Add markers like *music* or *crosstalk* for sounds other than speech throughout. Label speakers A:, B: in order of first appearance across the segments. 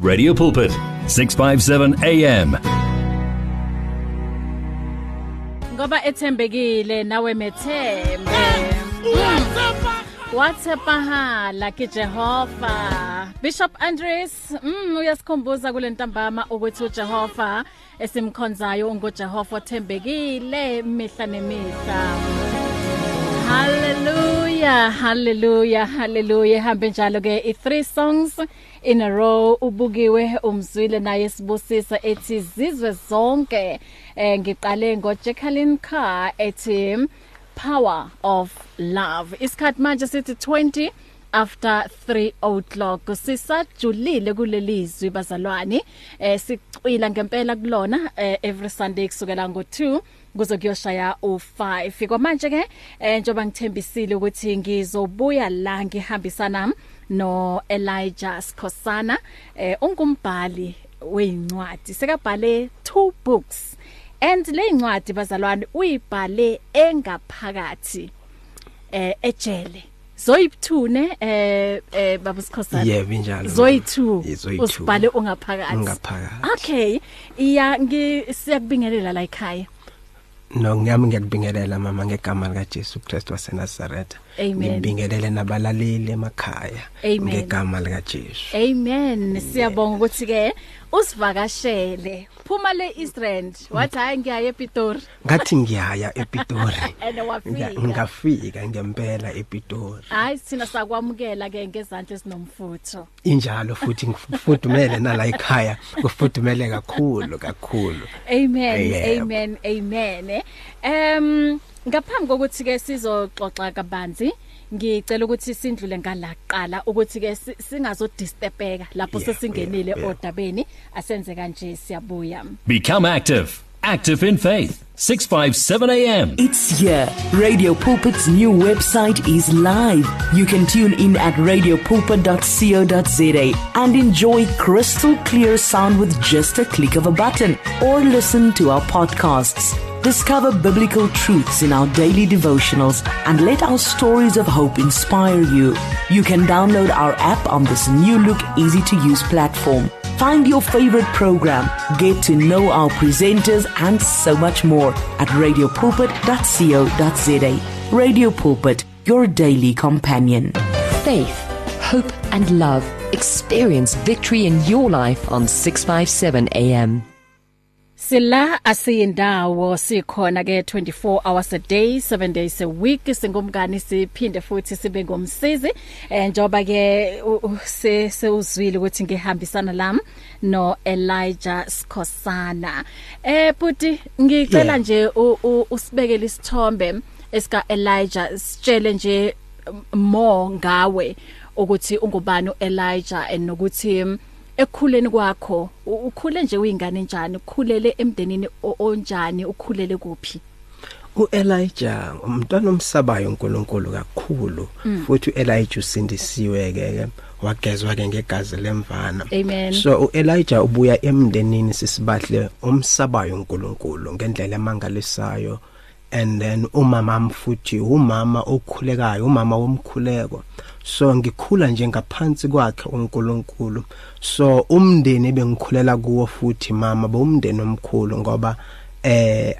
A: Radio Pulpit, 657 AM.
B: ngoba ethembekile nawe methembe wathepahala kijehova bishop andres mm, uyasikhumbuza kule ntambama ukuthi ujehova esimkhonzayo ungujehova othembekile mihla nemihla Hallelujah, hallelujah, hallelujah. Hambe njalo ke i3 songs in a row ubukiwe umzwile naye sibusisa ethi zizwe zonke. Eh ngiqale ngo Jacqueline Carr ethi Power of Love. Isikhathi manje sithi 20 after 3 o'clock sisajulile kulelizwi bazalwane eh sicwila ngempela kulona eh, every sunday kusukela ngo2 kuze kuyoshaya u5 kwamanje ke eh, njoba ngithembisile ukuthi ngizobuya la ngihambisana no Elijah Skhosana eh ungumbhali weincwadi sekabhale two books and leyincwadi bazalwane uyibhale engaphakathi eh ejele zoyibthune eh eh baba Skhosana
C: Yebo, injalo.
B: zoyithu
C: Ye, zoyi-two.
B: usibhale ungaphakathi
C: Ungaphakathi.
B: okay iya ngi siyakubingelela la ekhaya
C: No ngiyami ngiyakubingelela mama ngegama lika Jesu Christ waseNazaretha.
B: Amen.
C: Ngibingelele nabalaleli emakhaya
B: Amen.
C: ngegama lika Jesu.
B: Amen. Siyabonga ukuthi ke usivakashele. Phuma le East Rand. Wathi hayi ngiyaye ePitori.
C: Ngathi ngiyaya
B: *laughs*
C: ePitori.
B: Ene wafika.
C: Nga- Ngafika ngempela ePitori.
B: Hayi sina sakwamukela ke ngezandla esinomfutho.
C: Injalo futhi ngifudumele nala ekhaya, ngifudumele kakhulu kakhulu.
B: Amen.
C: Yebo.
B: Amen. Amen. Ehm ngaphambi kokuthi ke sizoxoxa kabanzi ngicela ukuthi sindlule ngala kuqala ukuthi ke si- singazodisturbeka lapho
C: Yeah,
B: sesingenile
C: yeah, yeah.
B: odabeni asenze kanje siyabuya.
A: Become active. Active in faith. 657 AM.
D: It's here. Radio Pulpit's new website is live. You can tune in at radiopulpit.co.za and enjoy crystal clear sound with just a click of a button or listen to our podcasts. Discover biblical truths in our daily devotionals and let our stories of hope inspire you. You can download our app on this new look, easy to use platform. Find your favorite program, get to know our presenters, and so much more at radiopulpit.co.za. Radio Pulpit, your daily companion.
E: faith, hope, and love. Experience victory in your life on 657 AM.
B: Sila asiyindawo sikhona ke 24 hours a day 7 days a week singumngani siphinde futhi sibe ngomsizi eh njoba ke u- u- se- seuzwile ukuthi ngihambisana lami no Elijah Skhosana eh buti ngicela
C: Yeah.
B: nje u- u- usibekele isithombe esika Elijah sitshele nje m- more ngawe ukuthi ungubani uElijah and nokuthi mm, ekukhuleni kwakho u- ukhule nje uyingane njani ukhulele emndenini o- onjani ukhulele kuphi
C: uElijah umntwana omsabayo uNkulunkulu kakhulu futhi uElijah usindisiwe ke wagezwa ke ngegazi lemvana
B: Amen.
C: so uElijah ubuya emndenini sisibahle omsabayo uNkulunkulu ngendlela emangalisayo and then umama mfuthi umama okhulekayo umama womkhuleko so ngikhula nje ngaphansi kwakhe uNkulunkulu so umndeni bengikhulela kuwo futhi mama bomndeni omkhulu ngoba eh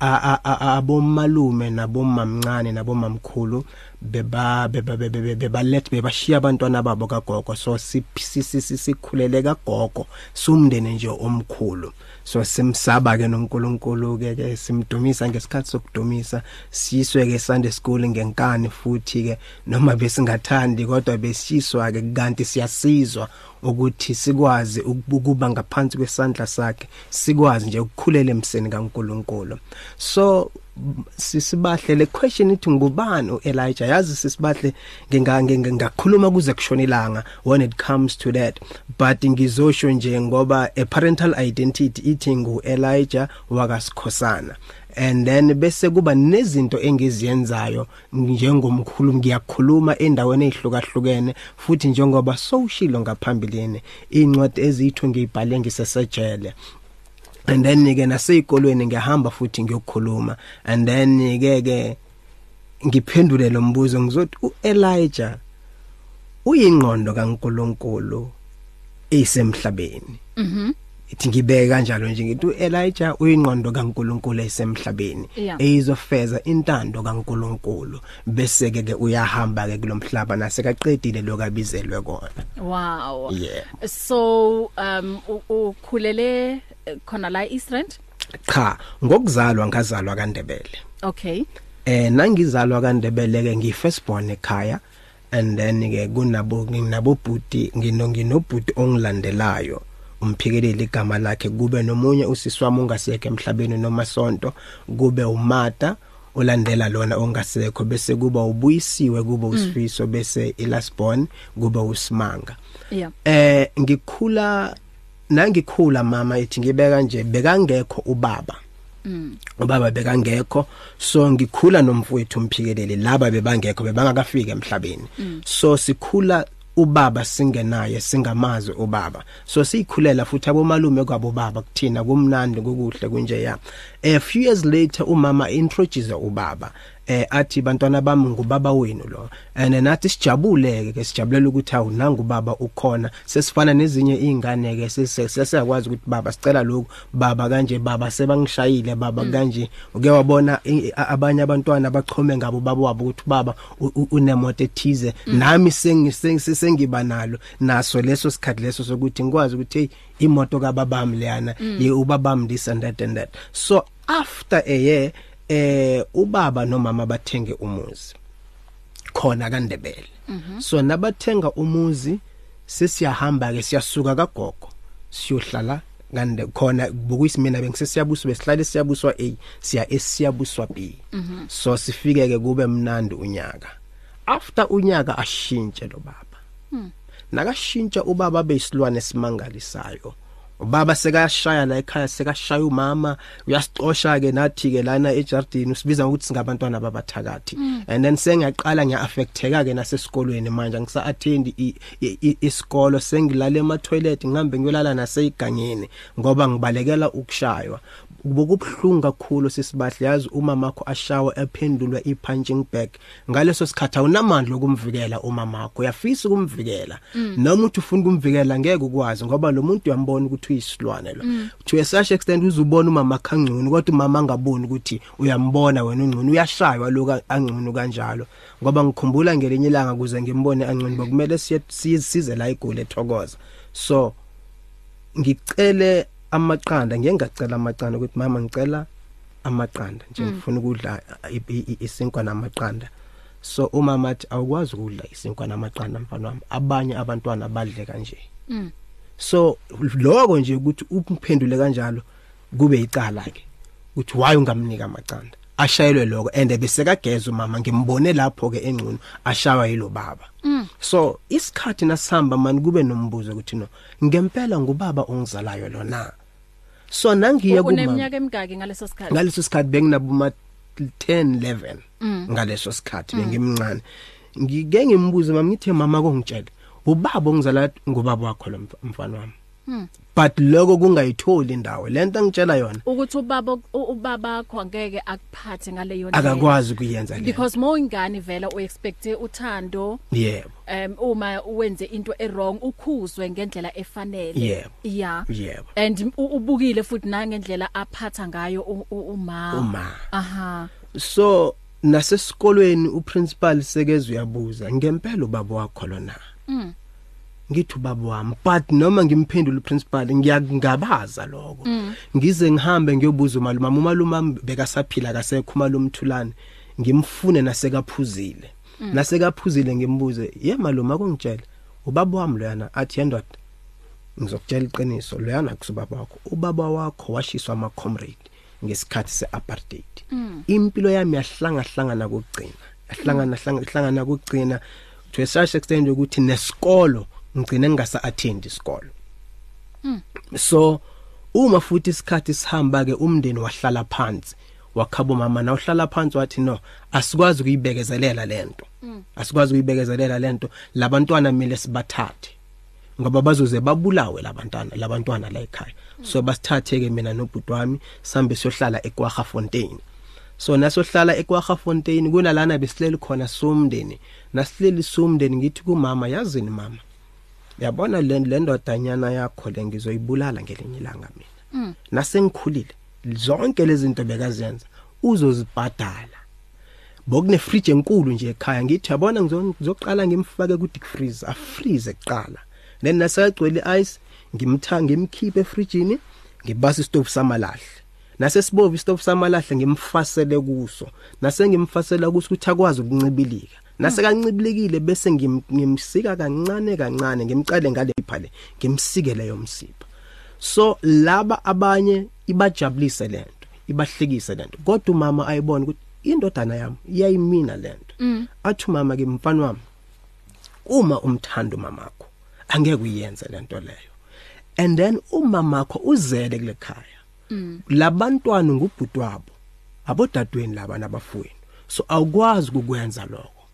C: a- a- a- abomalume nabomamncane nabomamkhulu beba beba beba- beba- bebalethe bebashiya abantwana babo kagogo so si- si- si- si- sikhulele kagogo sumndeni nje omkhulu so simsaba ke noNkulunkulu ke ke simdumisa ngesikhathi sokudumisa siyiswe ke Sunday school ngenkani futhi ke noma besingathandi kodwa besiswa ke kanti siyasizwa ukuthi sikwazi ukuba ngaphansi kwesandla sakhe sikwazi nje ukukhulela emseni kaNkuluNkulu so m- sisibahle le question ithi ngubani uElijah yazi sisibahle nginga- nginga- ngakhuluma kuze kushonilanga when it comes to that but ngizosho nje ngoba a parental identity ithi nguElijah wakasikhosana and then bese kuba nezinto engiziyenzayo njengomkhulu ngiyakhuluma endaweni ezihlukahlukene futhi njengoba sowushilo ngaphambilini incwadi ezithu ngiyibhale ngisesejele and then ke naseyikolweni ngiyahamba futhi ngiyokhuluma and then ke ke ngiphendule lo mbuzo ngizothi uElijah uyingqondo kaNkuluNkulu esemhlabeni ithi ngibeke kanjalo nje ngithi uElijah uyingqondo kaNkuluNkulu esemhlabeni
B: Yeah.
C: eyizofeza intando kaNkuluNkulu bese ke uyahamba ke kulomhlaba nasekaqedile lokabizelwe kona
B: Wow.
C: Yeah.
B: So um u- ukhulele eh, khona la Eastland?
C: cha ngokuzalwa ngazalwa kaNdebele
B: Okay.
C: eh nangizalwa kaNdebele ke ngi firstborn ekhaya and then ke kunabo nginabo bhuti ngino nginobhuti ongilandelayo umphikeleli igama lakhe kube nomunye usisi wami ongasekho emhlabeni nomasonto kube umata olandela lona ongasekho bese kuba ubuyisiwe kuba usifiso bese ilasborn kuba usimanga
B: Yeah.
C: eh ngikhula nangikhula mama ethi ngibeka nje bekangekho ubaba ubaba bekangekho so ngikhula nomfowethu umphikeleli laba bebangekho bebangakafika emhlabeni so sikhula ubaba singenaye singamazi ubaba so siyikhulela futhi abomalume kwabo baba kuthina kumnandi kukuhle kunjeya a few years later umama introduce ubaba eh athi bantwana bami ngubaba wenu lo and then athi sijabuleke ke sijabulela ukuthi awu nanga ubaba ukhona sesifana nezinye izingane ke sesiyakwazi ukuthi baba sicela lokhu baba kanje baba sebangishayile baba kanje uke wabona i- a- abanye abantwana abachome ngabo baba wabo ukuthi baba u- u- unemoto ethize nami sengi- sengi- sengiba nalo naso leso sikhathi leso sokuthi ngikwazi ukuthi hey imoto kababami leyana ye ubabami this and that and that so after a year eh ubaba nomama bathenge umuzi khona kaNdebele so nabathenga umuzi sesiyahamba ke siyasuka kagogo siyohlala kande khona bokuyisimina bengisesiyabuso besihlale siyabuswa A siya S siyabuswa B so sifike ke kube mnandi unyaka after unyaka ashintshe lo baba nakashintsha ubaba beyisilwane simangalisayo ubaba sekashaya la ekhaya sekashaya umama uyasixosha ke nathi ke lana ejardini usibiza ukuthi singabantwana babathakathi and then sengiyaqala ngiyaaffecteka ke nasesikolweni manje ngisa attend isikolo sengilala ema toilet ngihambe ngiyolala naseyigangeni ngoba ngibalekela ukushaywa bokubhlungu kakhulu sisibahle yazi umama wakho ashawe ephendulwa i-punching bag ngaleso sikhathi awunamandla okumvikela umama wakho uyafisa ukumvikela noma uthi ufuna ukumvikela ngeke ukwazi ngoba lo muntu uyambona ukuthi uyisilwane lo to a such extent uzubona umama khangcono kodwa umama angaboni ukuthi uyambona wena ungcono uyashaywa loku angcono kanjalo ngoba ngikhumbula ngelinye ilanga kuze ngimbone angcono bokumele siye- siye- size la igoli ethokoza so ngicele amaqanda ngeke ngacela amaqanda ukuthi mama ngicela amaqanda nje ngifuna ukudla i- i- i- isinkwa namaqanda so umama athi awukwazi ukudla isinkwa namaqanda mfana wami abanye abantwana badle kanje so lokho nje ukuthi uphendule kanjalo kube icala ke ukuthi why ungamnika amaqanda ashayelwe lokho and bese kageza umama ngimbone lapho ke engcuno ashaywa yilo baba so isikhathi nasihamba mani kube nombuzo ukuthi no ngempela ngubaba ongizalayo lona so nangiye kumama
B: Uneminyaka emingaki ngaleso sikhathi?
C: ngaleso sikhathi benginabo ma 10 11 ngaleso sikhathi bengimncane ngike ngimbuze mama ngithe mama kongitshela ubaba ongizala ngubaba wakho lo mf- mfana wami but lokho kungayitholi indawo lento angitshela yona
B: Ukuthi ubaba u- ubaba akho angeke akuphathe ngale yona.
C: akakwazi ukuyenza
B: ndlela.
C: le
B: Because mo ingane vela u expect uthando
C: yebo
B: um uma wenze into e-wrong ukhuzwe ngendlela efanele.
C: Yebo.
B: Yeah.
C: Yebo.
B: And u- ubukile futhi nangendlela aphatha ngayo u- u- uma.
C: uma
B: Aha.
C: so nasesikolweni uprincipal sekeze uyabuza ngempela ubaba wakho lona ngithi ubaba wami but noma ngimphendula uprincipal ngiyakungabaza lokho ngize ngihambe ngiyobuza umalume mama umalume wami bekasaphila kasekho umalume Thulani ngimfune nasekaphuzile nasekaphuzile ngimbuze ye malume akungitshela ubaba wami loyana athi yendoda ngizokutshela iqiniso loyana kusubaba wakho ubaba wakho washiswa ama comrade ngesikhathi seapartheid impilo yami yahlanga hlangana kokugcina yahlangana hlangana hlangana kokugcina to a such extent ukuthi nesikolo ngigcine ngingasa attend isikolo so uma futhi isikhathi sihamba ke umndeni wahlala phansi wakhabo mama na uhlala phansi wathi no asikwazi kuyibekezelela lento asikwazi kuyibekezelela lento labantwana mele sibathathe ngoba bazoze babulawe labantwana labantwana la ekhaya so basithathe ke mina nobhuti wami sambe siyohlala eKwaGa Fontein so nasohlala eKwaGa Fontein kunalana besileli khona somndeni nasileli somndeni ngithi kumama yazini mama yabona le le ndodanyana yakho le ngizoyibulala ngelinye ilanga mina nasengikhulile zonke lezi zinto bekazenza uzozibhadala bokune fridge enkulu nje ekhaya ngithi yabona ngizo- ngizoqala ngimfake ku deep freeze afreeze kuqala then nasegcwele ice ngimtha ngimkhiphe efrijini ngibasa istove samalahle nasesibove istove samalahle ngimfasele kuso nasengimfasela kuso ukuthi akwazi ukuncibilika nasekancibilikile bese ngim- ngimsika kancane kancane ngimcele ngale phale ngimsikele yomsipha so laba abanye ibajabulise lento ibahlekise lento kodwa umama ayibona ukuthi indodana yami iyayimina lento athi mama ke mfana wami uma umthanda umamakho angeke uyenze lento leyo and then umamakho uzele kule khaya labantwana ngubhuti wabo abodadweni laba nabafweni so awukwazi ukukwenza lokho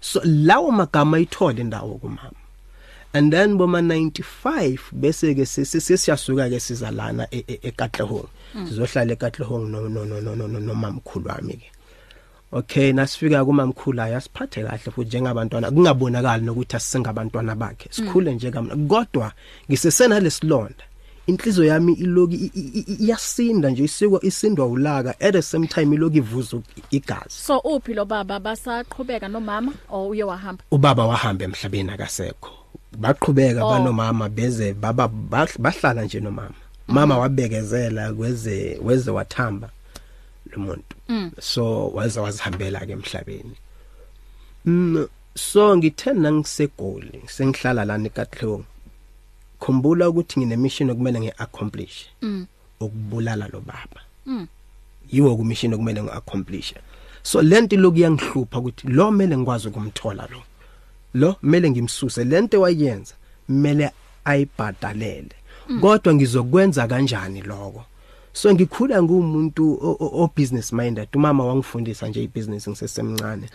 C: so lawo magama ayithole indawo kumama and then boma 95 bese ke sesiyasuka ke sizalana e- e- eKatlehong sizohlala eKatlehong no no no no no no- nomamkhulu wami ke okay nasifika kumamkhulu ayi asiphathe kahle futhi njengabantwana kungabonakali nokuthi asisengabantwana bakhe sikhule nje kamna kodwa ngisesena lesilonda inhliziyo yami iloki i- i- i- iyasinda nje isikwa isindwa ulaka at the same time iloki ivuza igazi
B: so uphi lo baba basaqhubeka nomama or uye wahamba
C: ubaba wahamba emhlabeni akasekho baqhubeka
B: Oh.
C: banomama beze baba bahl- bahlala nje nomama mama wabekezela kweze weze wathamba lo muntu so waze wazihambela ke emhlabeni mm so ngithena ngisegoli sengihlala lana eKatlong khumbula ukuthi nginemission okumele ngiaccomplish ukubulala lo baba yiwo kumishini okumele ngiaccomplish so lento lokuyangihlupa ukuthi lo mele ngikwazi ukumthola lo lo mele ngimsuse lento wayenza mele ayibhadalele kodwa ngizokwenza kanjani lokho so ngikhula ngumuntu o- o- o business minded umama wangifundisa nje ibusiness ngisesemncane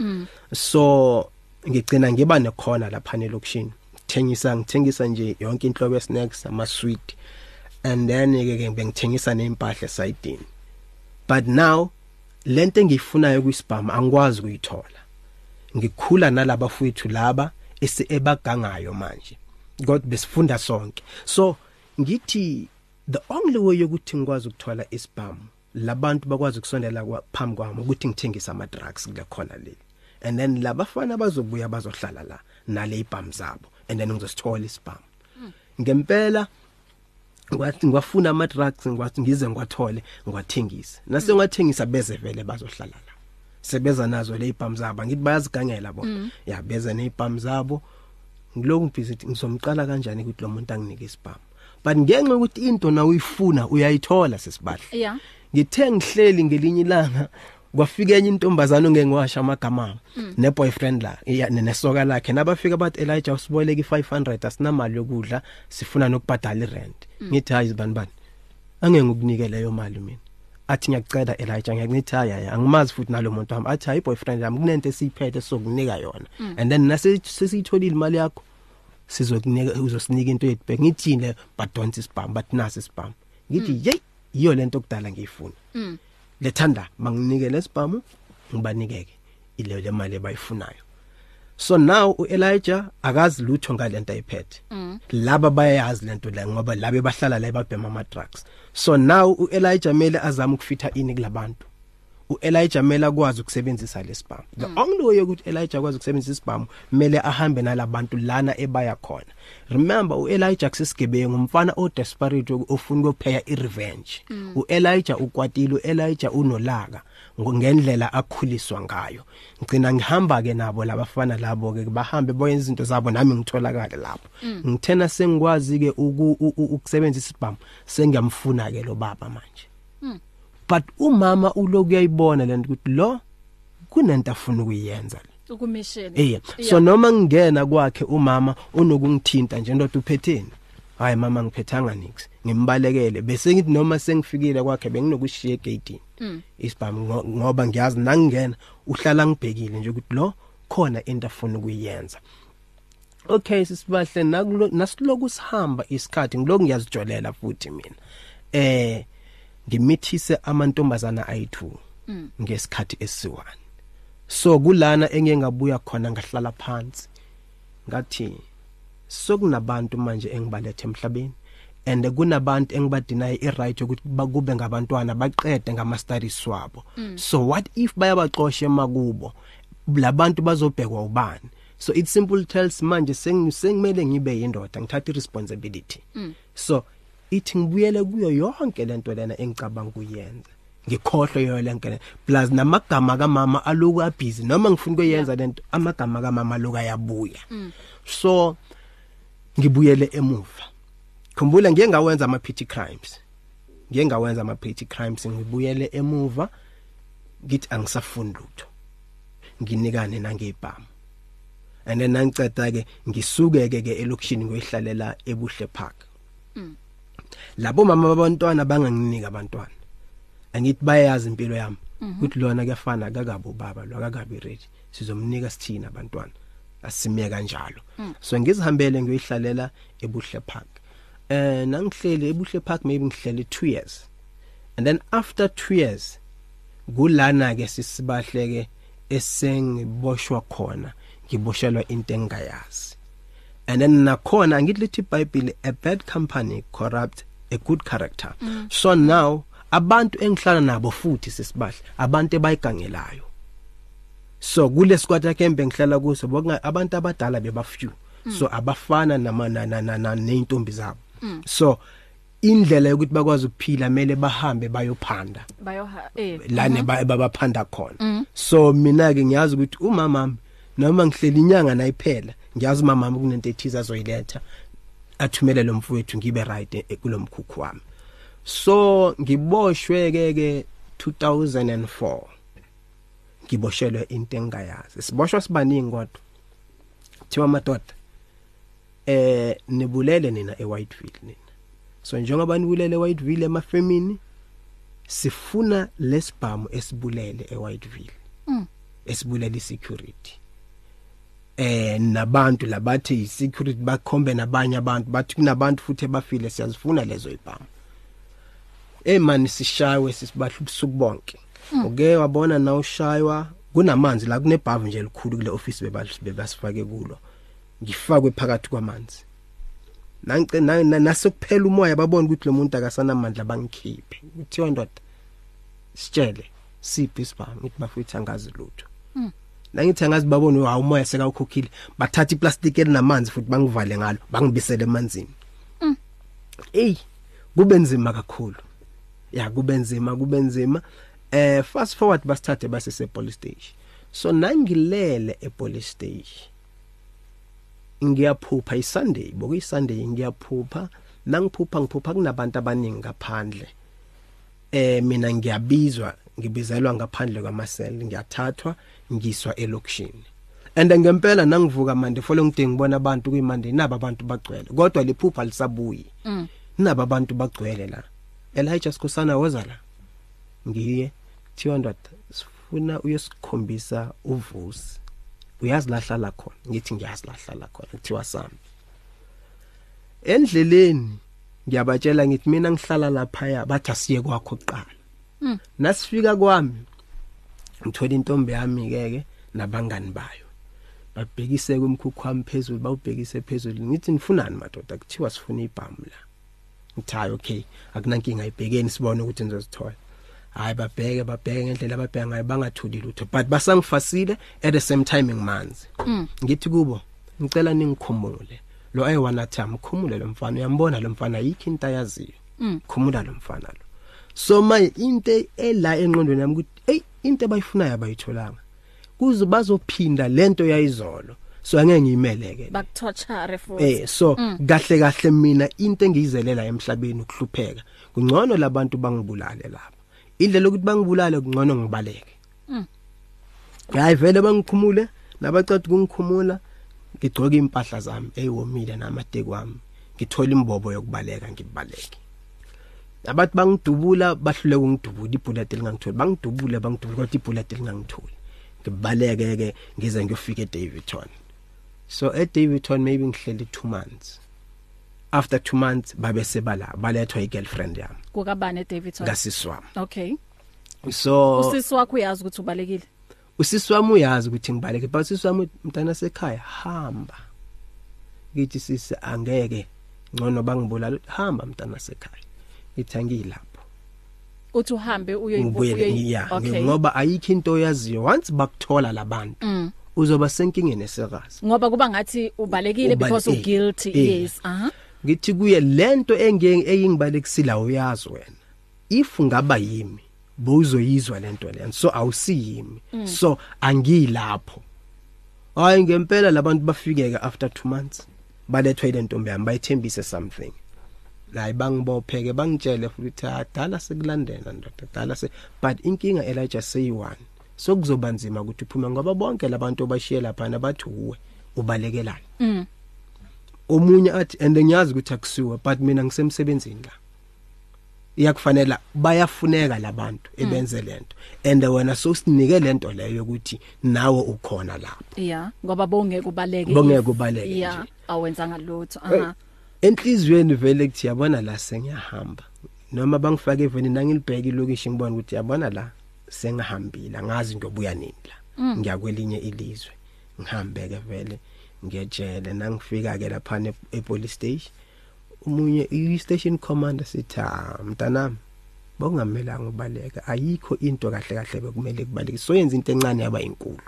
C: so ngigcina ngiba nekhona lapha nelokushini ngithengisa ngithengisa nje yonke inhlobo ye snacks ama sweet and then ke ke bengithengisa neimpahla esayidini but now lento engiyifunayo kuyisibhama angikwazi ukuyithola ngikhula nalabafowethu laba ese ebagangayo manje god besifunda sonke so ngithi the only way yokuthi ngikwazi ukuthola isibhamu labantu bakwazi ukusondela kwa- phambi kwami ukuthi ngithengise ama-drugs kule khona leli and then labafana bazobuya bazohlala la nale ibhamu zabo and then ngizosithola isibhamu ngempela ngwathi ngwafuna ama drugs ngwathi ngize ngwathole ngwathengisa nase ngwathengisa beze vele bazohlala la sebeza nazo le ibhamu zabo ngithi bayazigangela bona ya beza neibhamu zabo ngiloku busy ngizomqala kanjani ukuthi lo muntu anginike isibhamu but ngenxa ukuthi into na uyifuna uyayithola sesibahle
B: Yeah.
C: ngithe ngihleli ngelinye ilanga kwafika enye intombazana ongengiwasha amagama neboyfriend la iya- ne- nesoka lakhe nabafika bathi Elijah usiboleke i500 asinamali yokudla sifuna nokubhadala irent ngithi hayi bani bani angeke ngikunike leyo mali mina athi ngiyacela Elijah ngiyakuthi hayi hayi angimazi futhi nalomuntu wami athi hayi boyfriend yami kunento esiyiphethe sokunika yona and then nase sesitholile imali yakho sizokunika uzosinika into yethu back ngithile but don't spam but nasi spam ngithi yey iyo lento okudala ngiyifuna lethanda manginike lesibhamu ngibanikeke ile le mali abayifunayo so now uElijah akazi lutho ngalento ayiphethe laba bayayazi lento la ngoba labe bahlala la babhema ama drugs so now uElijah mele azama ukufitha ini kulabantu uElijah mele akwazi ukusebenzisa lesibhamu the only way ukuthi Elijah akwazi ukusebenzisa isibhamu mele ahambe nalabantu lana ebaya khona remember uElijah kusigebengu umfana o desperate ofuna ukuphaya irevenge uElijah ukwatile uElijah unolaka ngo- ngendlela akhuliswa ngayo ngicina ngihamba ke nabo labafana labo ke bahambe boyenza izinto zabo nami ngitholakala lapho ngithena sengikwazi ke uku- u- u- ukusebenzisa isibhamu sengiyamfuna ke lo baba manje but umama uloku yayibona lento ukuthi lo kunento afuna ukuyenza le
B: ukumishini
C: eh so noma ngingena kwakhe umama unokungithinta nje ndoda uphetheni hayi mama ngiphethanga nix ngimbalekele bese ngithi noma sengifikile kwakhe benginokushiya egate isibhamu ngo- ngoba ngiyazi nangingena uhlala ngibhekile nje ukuthi lo khona into afuna ukuyenza okay sisibahle nakulo- nasiloku sihamba isikhathi ngiloku ngiyazijolela futhi mina eh ngimithise amantombazana ayithu ngesikhathi esiwani so kulana engeke ngabuya khona ngahlala phansi ngathi sokunabantu manje engibalethe emhlabeni and kunabantu engibadinaye iright ukuthi bakube ngabantwana baqede ngama studies wabo so what if bayabaxoshe makubo labantu bazobhekwa ubani so it simple tells manje sengi- sengimele ngibe yindoda ngithatha irresponsibility so ithi ngibuyele kuyo yonke lento lena engicabanga kuyenza ngikhohle yoyo lenke le plus namagama kamama aloku abhizi noma ngifuna ukuyenza lento amagama kamama aloku ayabuya so ngibuyele emuva khumbula ngeke ngawenza ama petty crimes ngeke ngawenza ama petty crimes ngibuyele emuva ngithi angisafuni lutho nginikane nangebhamu and then ngiceda ke ngisukeke ke elokushini ngoyihlalela ebuhle park labo mama babantwana banganginika abantwana angithi bayayazi impilo yami ukuthi lona kuyafana akakabi ubaba lo akakabi ready sizomnika sithina abantwana asimiye kanjalo so ngizihambele ngiyoyihlalela ebuhle park eh nangihleli ebuhle park maybe ngihleli 2 years and then after 2 years kulana ke sisibahleke esengiboshwa khona ngiboshelwa into engayazi and then nakhona angithi lithi iBhayibheli a bad company corrupt a good character mm. so now abantu engihlala nabo futhi sisibahle abantu ebayigangelayo so kule squad kembe ngihlala kuso bokunga abantu abadala bebafew so abafana nama na na na na- neintombi zabo so indlela yokuthi bakwazi ukuphila kumele bahambe bayophanda
B: bayoha eh
C: lana babaphanda khona so mina ke ngiyazi ukuthi umama noma ngihleli inyanga nayiphela ngiyazi umama kunento ethiza azoyiletha athumele lo mfowethu ngibe right eh, kulomkhukhu wami so ngiboshwe ke ke 2004 ngiboshelwe into engayazi siboshwa sibaningi kodwa thiwa madoda eh nibulele nina eWhiteville nina so njengoba nibulele eWhiteville emafemini sifuna lesibhamu esibulele eWhiteville esibulele isecurity eh nabantu labathi isecurity bakhombe nabanye abantu bathi kunabantu futhi abafile siyazifuna lezo Eh, ibhamu emani sishawe sisibahle ubusuku bonke uke wabona na ushaywa kunamanzi la kunebhavu nje elikhulu kule office bebas- bebasifake kulo ngifakwe phakathi kwamanzi nangice na- na- nasekuphela umoya babona ukuthi lo muntu akasanamandla bangikhiphe kuthiwa ndoda sitshele siphi isibhamu ngithi bafutha angazi lutho nangithi angazi babona hawu umoya sekawukhokhile bathatha iplastic elinamanzi futhi bangivale ngalo bangibisele emanzini ey kube nzima kakhulu ya kube nzima kube nzima eh fast forward basithathe basise police station so nangilele e police station ngiyaphupha iSunday bokuyiSunday ngiyaphupha nangiphupha ngiphupha kunabantu abaningi ngaphandle eh mina ngiyabizwa ngibizelwa ngaphandle kwamaseli ngiyathathwa ngiswa elokushini and ngempela nangivuka manje folo ngide ngibona abantu kuyimande naba abantu bagcwele kodwa liphupha lisabuyi naba abantu bagcwele la Elijah Skosana woza la ngiye thiwa ndoda sifuna uyesikhombisa uvusi uyazi lahlala khona ngithi ngiyazi lahlala khona kuthiwa sami endleleni ngiyabatshela ngithi mina ngihlala lapha bathi asiye kwakho kuqala nasifika kwami ngithola intombi yami ke ke nabangani bayo babhekise kumkhukhu wami phezulu bawubhekise phezulu ngithi nifunani madoda kuthiwa sifuna ibhamu la ngithi hayi okay akunankinga ibhekeni sibone ukuthi nizozithola hayi babheke babheke ngendlela ababheka ngayo bangathuli lutho but basangifasile at the same time ngimanzi ngithi kubo ngicela ningikhumule lo ayewanatha mkhumule lo mfana uyambona lo mfana yikho into ayaziyo khumula lo mfana lo so manje into ela enqondweni yami ukuthi hey into abayifunayo abayitholanga kuze bazophinda lento yayizolo so angeke ngiyimeleke le
B: bakuthochare futhi
C: eh so kahle kahle mina into engiyizelela emhlabeni ukuhlupheka kungcono labantu bangibulale lapha indlela ukuthi bangibulale kungcono ngibaleke hayi vele bangikhumule nabacada ukungikhumula ngigcoka impahla zami eyiwomile namateki wami ngithola imbobo yokubaleka ngibaleke abathi bangidubula bahlule ukungidubula ibhullet elingangitholi bangidubule bangidubula kodwa ibhullet elingangitholi ngibaleke ke ngize ngiyofika eDavidton so eDavidton maybe ngihleli 2 months after 2 months babe sebala balethwa igirlfriend yami
B: kukabane Davidson
C: ngasisi wami
B: okay
C: so
B: usisi wakho uyazi ukuthi ubalekile
C: usisi wami uyazi ukuthi ngibaleke but usisi wami mntana sekhaya hamba ngithi sisi angeke ngcono bangibulala hamba mntana sekhaya ngithi angilapho
B: uthi uhambe
C: ubuyele ya
B: okay
C: ngoba ayikho into oyaziyo once bakuthola labantu uzoba senkingeni esekazi
B: ngoba kuba ngathi ubalekile
C: Ubale-
B: because u
C: eh,
B: guilty
C: eh.
B: yes ah, aha
C: ngithi kuye lento engeke eyingibalekisile uyazi wena if ngaba yimi bozoyizwa lento lento so awusiyimi so angilapho hayi ngempela labantu bafikeke after 2 months balethwa ile ntombi yami bayithembise something hayi bangibopheke bangitshele futhi ukuthi "Ah, dala sekulandela ndoda dala se but inkinga Elijah seyi-one so kuzoba nzima ukuthi uphume ngoba bonke labantu obashiye laphana bathi uwe ubalekelani omunye athi and ngiyazi ukuthi akusiwe but mina ngisemsebenzini la iyakufanela bayafuneka labantu ebenze lento and wena so sinike lento leyo ukuthi nawe ukhona lapho
B: yeah ngoba bongeke ubaleke
C: Bongeke ubaleke Eh. nje.
B: yeah Uh-huh. awenza ngalutho aha
C: enhlizweni vele kuthi yabona la sengiyahamba noma bangifake eveni nangilibheka ilokishi ngibona ukuthi yabona la sengihambile angazi ngiyobuya nini la ngiyakwelinye ilizwe ngihambeke vele ngiyejele nangifika ke lapha e, epolice station umunye i-station commander sithi "Ah, mntanami bokungamelanga ubaleka ayikho into kahle kahle bekumele kubaleke so yenza into encane yaba inkulu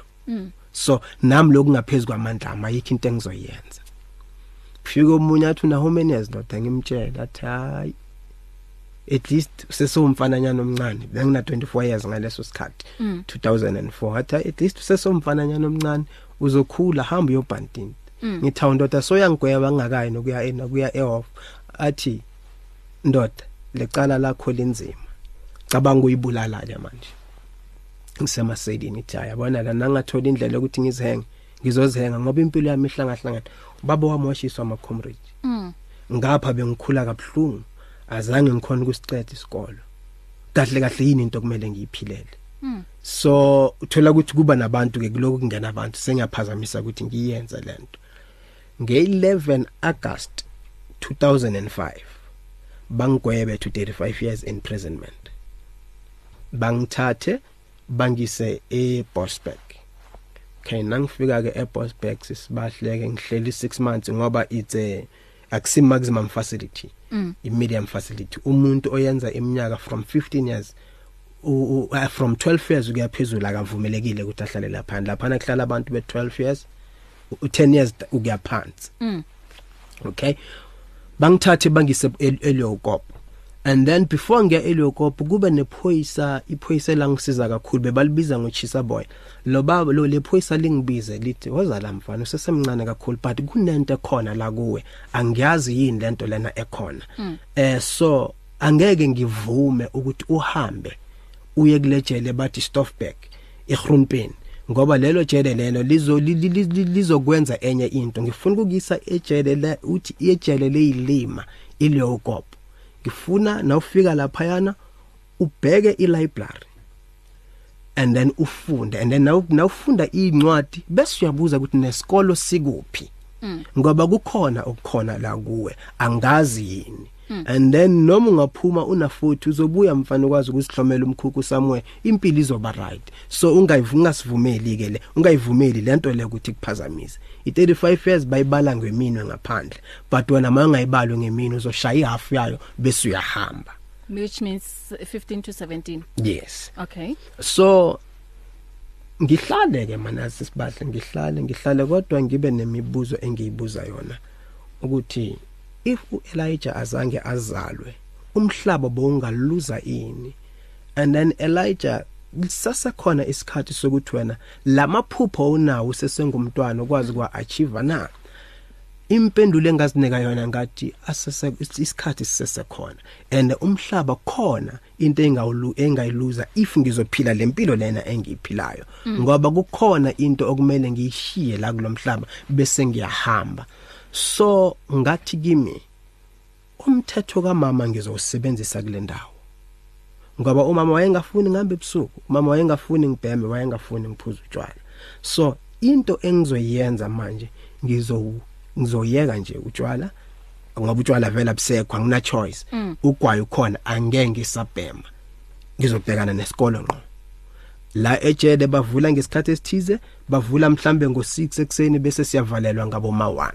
C: so nami lokungaphezulu kwamandla ami ayikho into engizoyenza kufika omunye athi una how many years ndoda ngimtshela athi hayi at least sesomfananyana omncane bengina 24 years ngaleso sikhathi 2004 athi hayi, at least sesomfananyana omncane uzokhula hamba uyobhantinti ngithawu ndoda soyangigweba ngingakayi nokuya ena kuya ehof athi ndoda lecala lakho linzima cabanga uyibulala ke manje ngisemaselini ithi hayi yabona la nangathola indlela yokuthi ngizihenge ngizozihenga ngoba impilo yami ihlangahlangana ubaba wami washiswa ama-comrade ngapha bengikhula kabuhlungu azange ngikhona ukusiqeda isikolo kahle kahle yini into kumele ngiyiphilele so uthola ukuthi kuba nabantu-ke kulokhu kungena abantu sengiyaphazamisa ukuthi ngiyenze le nto nge-11 agast 2005 bangigwebe to 35 years imprisonment bangithathe bangise eBosberg okay nangifika ke eBosberg sisibahleke ngihleli 6 months ngoba it's a akusi maximum facility i medium facility umuntu oyenza iminyaka from 15 years u- u- ah, from 12 years ukuya phezulu akavumelekile ukuthi ahlale lapha lapha nakuhlala abantu be 12 years u- u 10 years ukuya phansi okay bangithathe bangise e- eLeokopo and then before ngiya eLeokopo kube nephoyisa iphoyisa langisiza kakhulu bebalibiza ngochisa boy lo baba lo lephoyisa lingibize lithi wazala mfana usesemncane kakhulu but kunento khona la kuwe angiyazi yini lento lena ekhona eh so angeke ngivume ukuthi uhambe uye kulejele bathi Stoffberg eGroenpien ngoba lelo jele lelo lizo li- li- li- li- lizokwenza enye into ngifuna ukuyisa ejele la uthi ejele leyilima ileyokopo ngifuna nawufika lapha yana ubheke ilibrary and then ufunde and then nawu- nawufunda incwadi bese uyabuza ukuthi nesikolo sikuphi ngoba kukhona okukhona la kuwe angazi yini and then noma ungaphuma una futhi uzobuya mfana ukwazi ukusihlomela umkhuku somewhere impilo izoba right so ungayivunga sivumeli ke le ungayivumeli lento le ukuthi kuphazamise i35 years bayibala ngeminwe ngaphandle but wena mangayibalo ngeminwe uzoshaya ihalf yayo bese uyahamba
B: which means 15 to 17
C: yes
B: okay
C: so ngihlale ke mana sisibahle ngihlale ngihlale kodwa ngibe nemibuzo engiyibuza yona ukuthi if uElijah azange azalwe umhlaba bowungaluza ini and then Elijah sasekhona isikhathi sokuthi wena lamaphupho onawo sesengumntwana ukwazi kwa achieve na impendulo engazinika yona ngathi asese is- isikhathi sisesekhona and umhlaba khona into engawulu engayiluza if ngizophila lempilo lena engiyiphilayo ngoba kukhona into okumele ngiyishiye la kulomhlaba bese ngiyahamba so ngathi kimi umthetho kamama ngizowusebenzisa kule ndawo ngoba umama wayengafuni ngihambe ebusuku umama wayengafuni ngibheme wayengafuni ngiphuze utshwala so into engizoyenza manje ngizo ngizoyeka nje utshwala ngoba utshwala vele abusekho angina choice ugwayo khona angeke ngisabhema ngizobhekana nesikolo ngqo la ejele bavula ngesikhathi esithize bavula mhlambe ngo6 ekseni bese siyavalelwa ngabo ma 1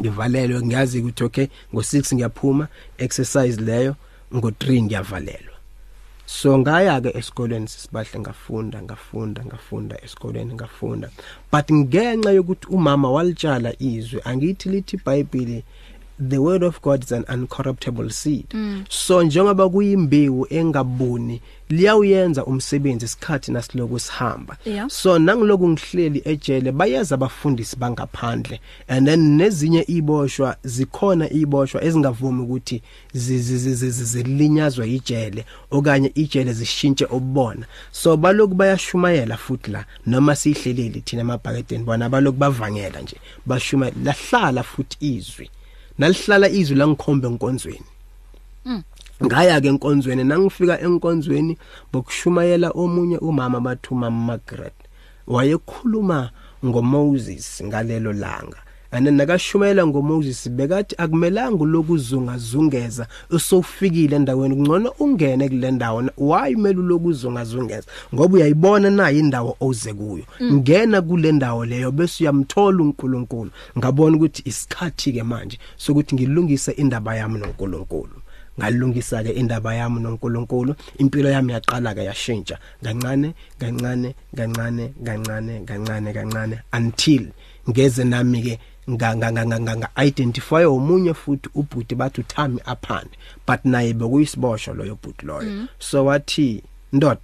C: ngivalelwe ngiyazi ukuthi okay ngo6 ngiyaphuma exercise leyo ngo3 ngiyavalelwa so ngaya ke esikolweni sisibahle ngafunda ngafunda ngafunda esikolweni ngafunda but ngenxa yokuthi umama walitshala izwi angithi lithi iBhayibheli the word of god is an uncorruptible seed mm. so njengoba kuyimbewu engabuni liyawuyenza umsebenzi isikhathi nasiloko sihamba
B: Yeah.
C: so nangiloku ngihleli ejele bayeza abafundisi bangaphandle and then nezinye iboshwa zikhona iboshwa ezingavumi ukuthi zi- zi- zi- zi- zi- zilinyazwe ijele okanye ijele zishintshe ubona so baloku bayashumayela futhi la noma sihleleli thina emabhakedeni bona baloku bavangela nje bashumayela lahlala futhi izwi nalihlala izwi langikhombe enkonzweni ngaya ke enkonzweni nangifika enkonzweni bokushumayela omunye umama bathu mama Margaret wayekhuluma ngoMoses ngalelo langa ane nakashumayela ngoMoses bekathi akumelanga lokuzunga zungeza usofikile endaweni ngcono ungene kule ndawo why mele lokuzunga zungeza ngoba uyayibona nayo indawo oze kuyo ngena kule ndawo leyo bese uyamthola uNkulunkulu ngabona ukuthi isikhathi ke manje sokuthi ngilungise indaba yami noNkulunkulu ngalungisa ke indaba yami noNkulunkulu impilo yami yaqala ke yashintsha kancane kancane kancane kancane kancane kancane until ngeze nami ke nga nga nga nga- nga nga identify omunye futhi ubhuti bathu Thami aphane but naye bekuyisibosho loyo bhuti loyo so wathi ndoda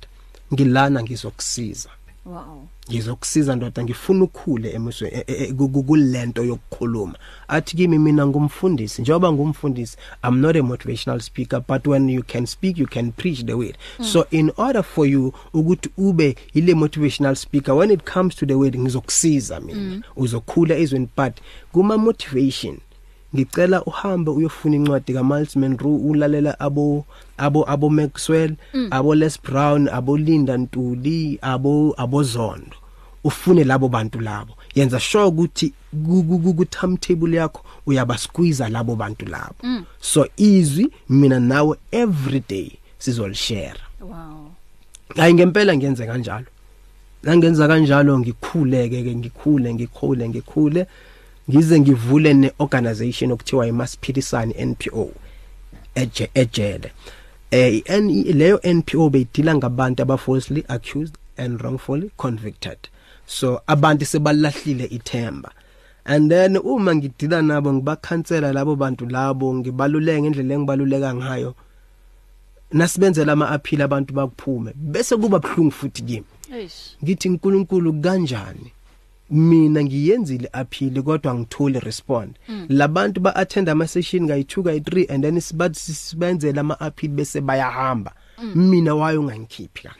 C: ngilana ngizokusiza
B: wow
C: ngizokusiza ndoda ngifuna ukukhule emuswe e- e- e- ku- ku- kulento yokukhuluma athi kimi mina ngumfundisi njengoba ngumfundisi i'm not a motivational speaker but when you can speak you can preach the word mm. so in order for you ukuthi ube ile motivational speaker when it comes to the word ngizokusiza mina mm. uzokhula ezweni but kuma motivation ngicela uhambe uyofuna incwadi kaMiles Monroe ulalela abo abo abo Maxwell mm. abo Les Brown abo Linda Ntuli abo abozondo ufune labo bantu labo yenza sure ukuthi ku- ku- ku- ku timetable yakho uyabasqueeze labo bantu labo mm. so izwi mina nawe every day sizolishare
B: wow
C: hayi ngempela ngenze kanjalo nangenza kanjalo ngikhuleke ke ngikhule ngikhule ngikhule ngize ngivule neorganization okuthiwa iMasphilisani NPO eje ejele eh i- leyo NPO beyidila ngabantu abafalsely accused and wrongfully convicted so abantu sebalahlile ithemba and then uma ngidila nabo ngibakhansela labo bantu labo ngibaluleke ngendlela engibaluleka ngayo nasibenzela ama appeal abantu bakuphume bese kuba buhlungu futhi kimi
B: eish
C: ngithi nkulunkulu kanjani mina ngiyenzile appeal kodwa ngitholi respond labantu ba attend ama session kayi 2 kayi 3 and then sibathi sibenzela ama appeal bese bayahamba mina wayo ngangikhiphi kana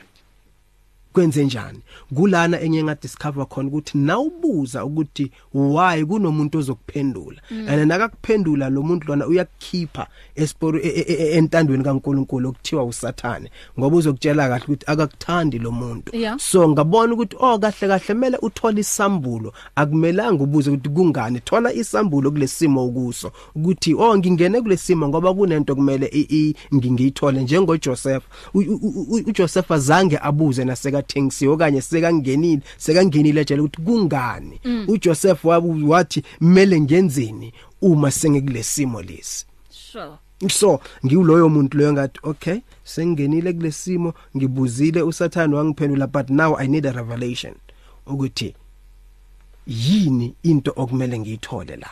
C: kwenze njani kulana enye nga discover khona ukuthi nawubuza ukuthi why kunomuntu ozokuphendula and nakakuphendula lo muntu lona uyakukhipha esiporo e- e- e- entandweni kaNkuluNkulu okuthiwa usathane ngoba uzokutshela kahle ukuthi akakuthandi lo
B: Yeah.
C: muntu so ngabona ukuthi oh kahle kahle kumele uthole isambulo akumelanga ubuze ukuthi kungani thola isambulo kulesimo ukuso ukuthi oh ngingene kulesimo ngoba kunento kumele i- i- ngi- ngiyithole njengoJoseph U- u- u- u- uJoseph azange abuze naseka Thengisi okanye seka ngenile seka ngenile ejele ukuthi kungani uJoseph wabu- wathi kumele ngenzeni uma sengikulesimo lesi
B: sure
C: so ngiwuloyo muntu loyo ngathi okay sengingenile kulesimo ngibuzile usathane wangiphendula but now i need a revelation ukuthi yini into okumele ngiyithole la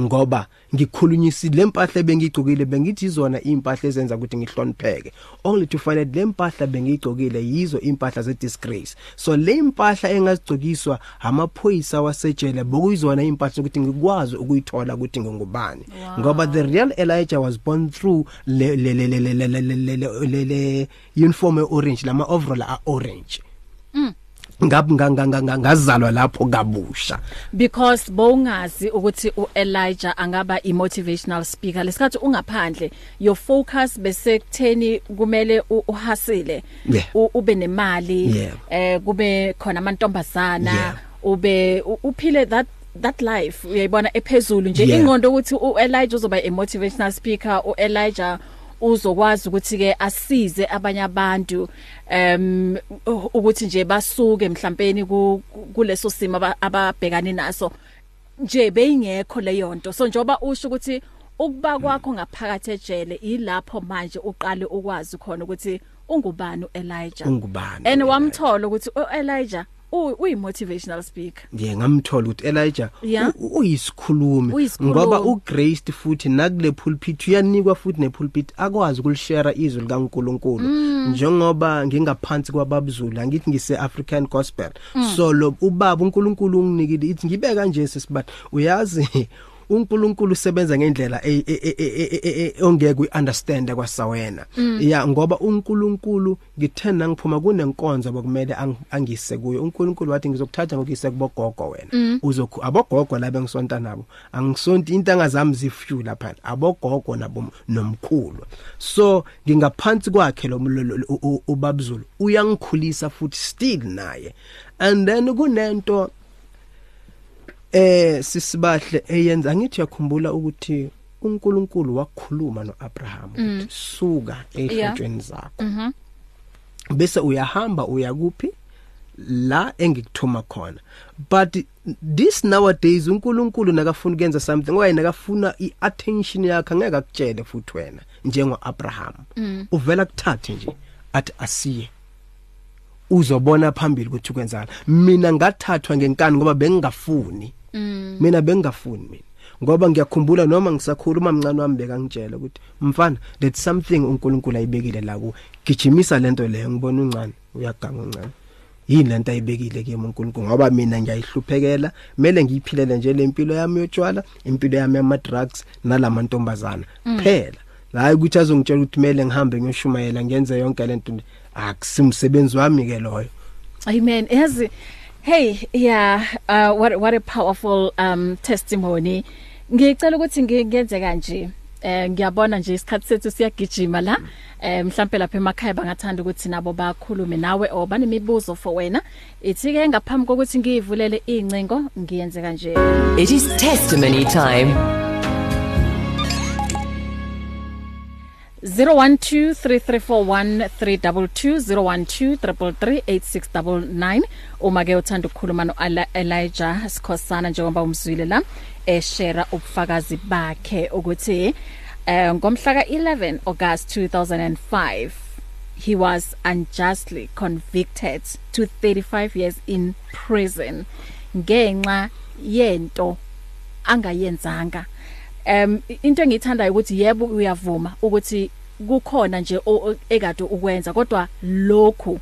C: ngoba ngikhulunyisile lempahla bengigcokile bengithi izona impahla ezenza ukuthi ngihlonipheke only to find out lempahla bengigcokile yizo impahla ze disgrace so le impahla engazigcokiswa amaphoyisa wasejele bokuyizona impahla ukuthi ngikwazi ukuyithola ukuthi ngingubani ngoba the real Elijah was born through le le le le le le- le- le- le- le- le uniform e orange lama overall a orange ngabu ngangangangazalwa lapho kabusha
B: because bowungazi ukuthi uElijah angaba imotivational speaker lesikhathi ungaphandle your focus bese kutheni kumele u- uhasile
C: Yeah.
B: u- ube nemali
C: Yeah.
B: eh kube khona amantombazana
C: Yeah.
B: ube u- uphile that that life uyayibona ephezulu nje
C: Yeah.
B: ingqondo ukuthi uElijah uzoba imotivational speaker uElijah uzokwazi ukuthi ke asize abanye abantu em ukuthi nje basuke mhlawumbe kuleso simo aba- ababhekane naso nje beyingekho leyo nto so njoba usho ukuthi ukuba kwakho ngaphakathi ejele ilapho manje uqale ukwazi khona ukuthi ungubani uElijah and
C: Ungubani u-Elijah.
B: wamthola ukuthi uElijah u- uyi motivational speaker
C: nje ngamthola ukuthi Elijah
B: Yeah.
C: u- u- uyisikhulumi
B: Uyisikhulumi.
C: ngoba uGrace futhi nakule pulpit uyanikwa futhi nepulpit akwazi ukulishare izwi likaNkuluNkulu
B: Mm.
C: njengoba ngingaphansi kwababzulu angithi ngise African gospel
B: Mm.
C: so lo ubaba uNkulunkulu unginikile ithi ngibe kanje sisibathi uyazi uNkulunkulu usebenza ngendlela e- e- e- e- e- e- e- ongeke uyiunderstand kwasawena
B: Mm.
C: ya ngoba uNkulunkulu ngithena ngiphuma kunenkonzo bokumele ang- angise kuyo uNkulunkulu wathi ngizokuthatha ngokuyise kubogogo wena uzokhu abogogo laba engisonta nabo angisonti intanga zami zifyu lapha abogogo nabo nomkhulu so ngingaphansi kwakhe lo mlo- lo- lo- u- u- ubabzulu uyangikhulisa futhi still naye and then kunento eh sisibahle eyenza angithi yakhumbula ukuthi uNkulunkulu wakhuluma noAbraham ukuthi suka ehlotshweni zakho bese uyahamba uyakuphi la engikuthuma khona but this nowadays uNkulunkulu nakafuna ukwenza something waye nakafuna iattention yakhe angeke akutshele futhi wena njengoAbraham uvela kuthathe nje athi asiye uzobona phambili ukuthi kwenzakala mina ngathathwa ngenkani ngoba bengingafuni mina bengingafuni mina ngoba ngiyakhumbula noma ngisakhula umamncane wami bekangitshela ukuthi mfana that something uNkulunkulu ayibekile la ku gijimisa lento leyo ngibona uncane uyaganga uncane yini lento ayibekile kimi uNkulunkulu ngoba mina ngiyayihluphekela kumele ngiyiphilele nje lempilo yami yotshwala impilo yami yama drugs nalamantombazana phela hayi ukuthi azongitshela ukuthi kumele ngihambe ngiyoshumayela ngenze yonke lento le. akusimsebenzi wami ke loyo
B: Amen. Yazi hey yeah uh, what what a powerful um testimony. Ngicela ukuthi ngi- ngenze kanje. Eh ngiyabona nje isikhathi sethu siyagijima la. Eh mhlambe lapha emakhaya bangathanda ukuthi nabo bakhulume nawe or banemibuzo for wena. Ithi ke ngaphambi kokuthi ngiyivulele incingo ngiyenze kanje.
E: It is testimony time.
B: 0123341322 uma ke uthanda ukukhuluma no Elijah Sikhosana njengoba umzwile la eshare ubufakazi bakhe ukuthi eh ngomhla ka11 August 2005 he was unjustly convicted to 35 years in prison ngenxa yento angayenzanga um into engiyithandayo ukuthi yebo uyavuma ukuthi kukhona nje o- o- ekade ukwenza kodwa lokhu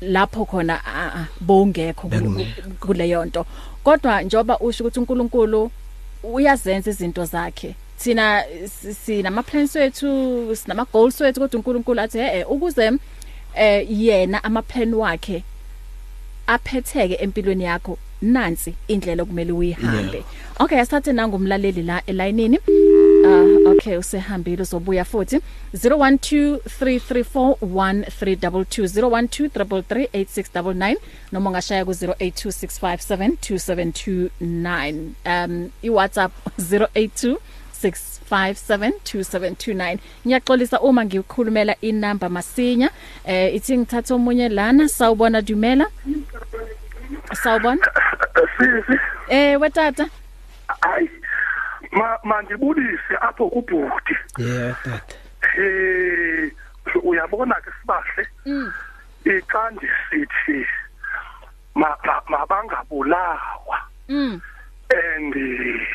B: lapho khona ah, ah, bowungekho ku-
C: Bekungekho.
B: kuleyo nto kodwa njoba usho ukuthi uNkulunkulu uyazenza izinto zakhe sina si- sinama plans wethu sinama goals wethu kodwa uNkulunkulu athi eh eh, ukuze eh yena ama plan wakhe aphetheke empilweni yakho nansi indlela okumele uyihambe okay asithathe nanga umlaleli la elayinini uh okay usehambile uzobuya futhi 0123341322 0123338699 noma ungashaya ku 0826572729 um iWhatsApp 082 0856572729 ngiyaxolisa uma ngikhulumela inamba masinya eh ithi ngithatha omunye lana sawubona dumela sawubona
F: sisi
B: eh wetata
F: hayi ma mandibulise apho kubhuti
C: yeah that
F: eh uyabona ke sibahle
B: Mm.
F: iqandi sithi ma ma- mabangabulawa
B: mm
F: and eh,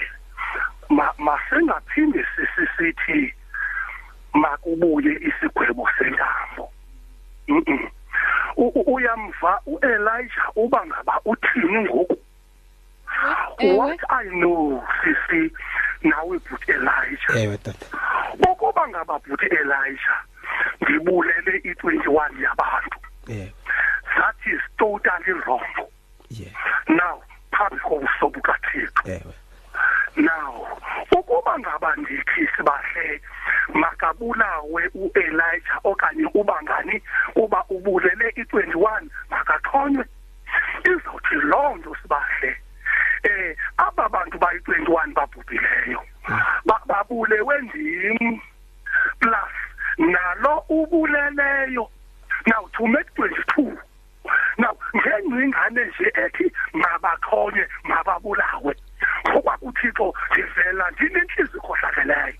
F: ma masengaphinde sisi sithi makubuye isigwebo sentambo Mm, mm. U- u- uyamva uElijah uba ngaba uthini ngoku
B: ewe.
F: what i know sisi nawe but Elijah
C: yeah that
F: ukuba ngaba but Elijah ngibulele i21 yabantu
C: yeah
F: that is totally wrong
C: yeah
F: now phambi kobuso bukaThixo
C: yeah
F: Now, ukuba ngaba ndithi sibahle makabulawe uElijah okanye ubangani uba ubulele i21 makathonywe izawuthi loo nto sibahle eh aba bantu bayi21 babhubhileyo Ba- babulewe ndim plus nalo ubuleleyo now to make 22 now ngengcingane nje ethi mabakhonye mababulawe okwakuthixo sivela ndinentliziyo ikhohlakeleyo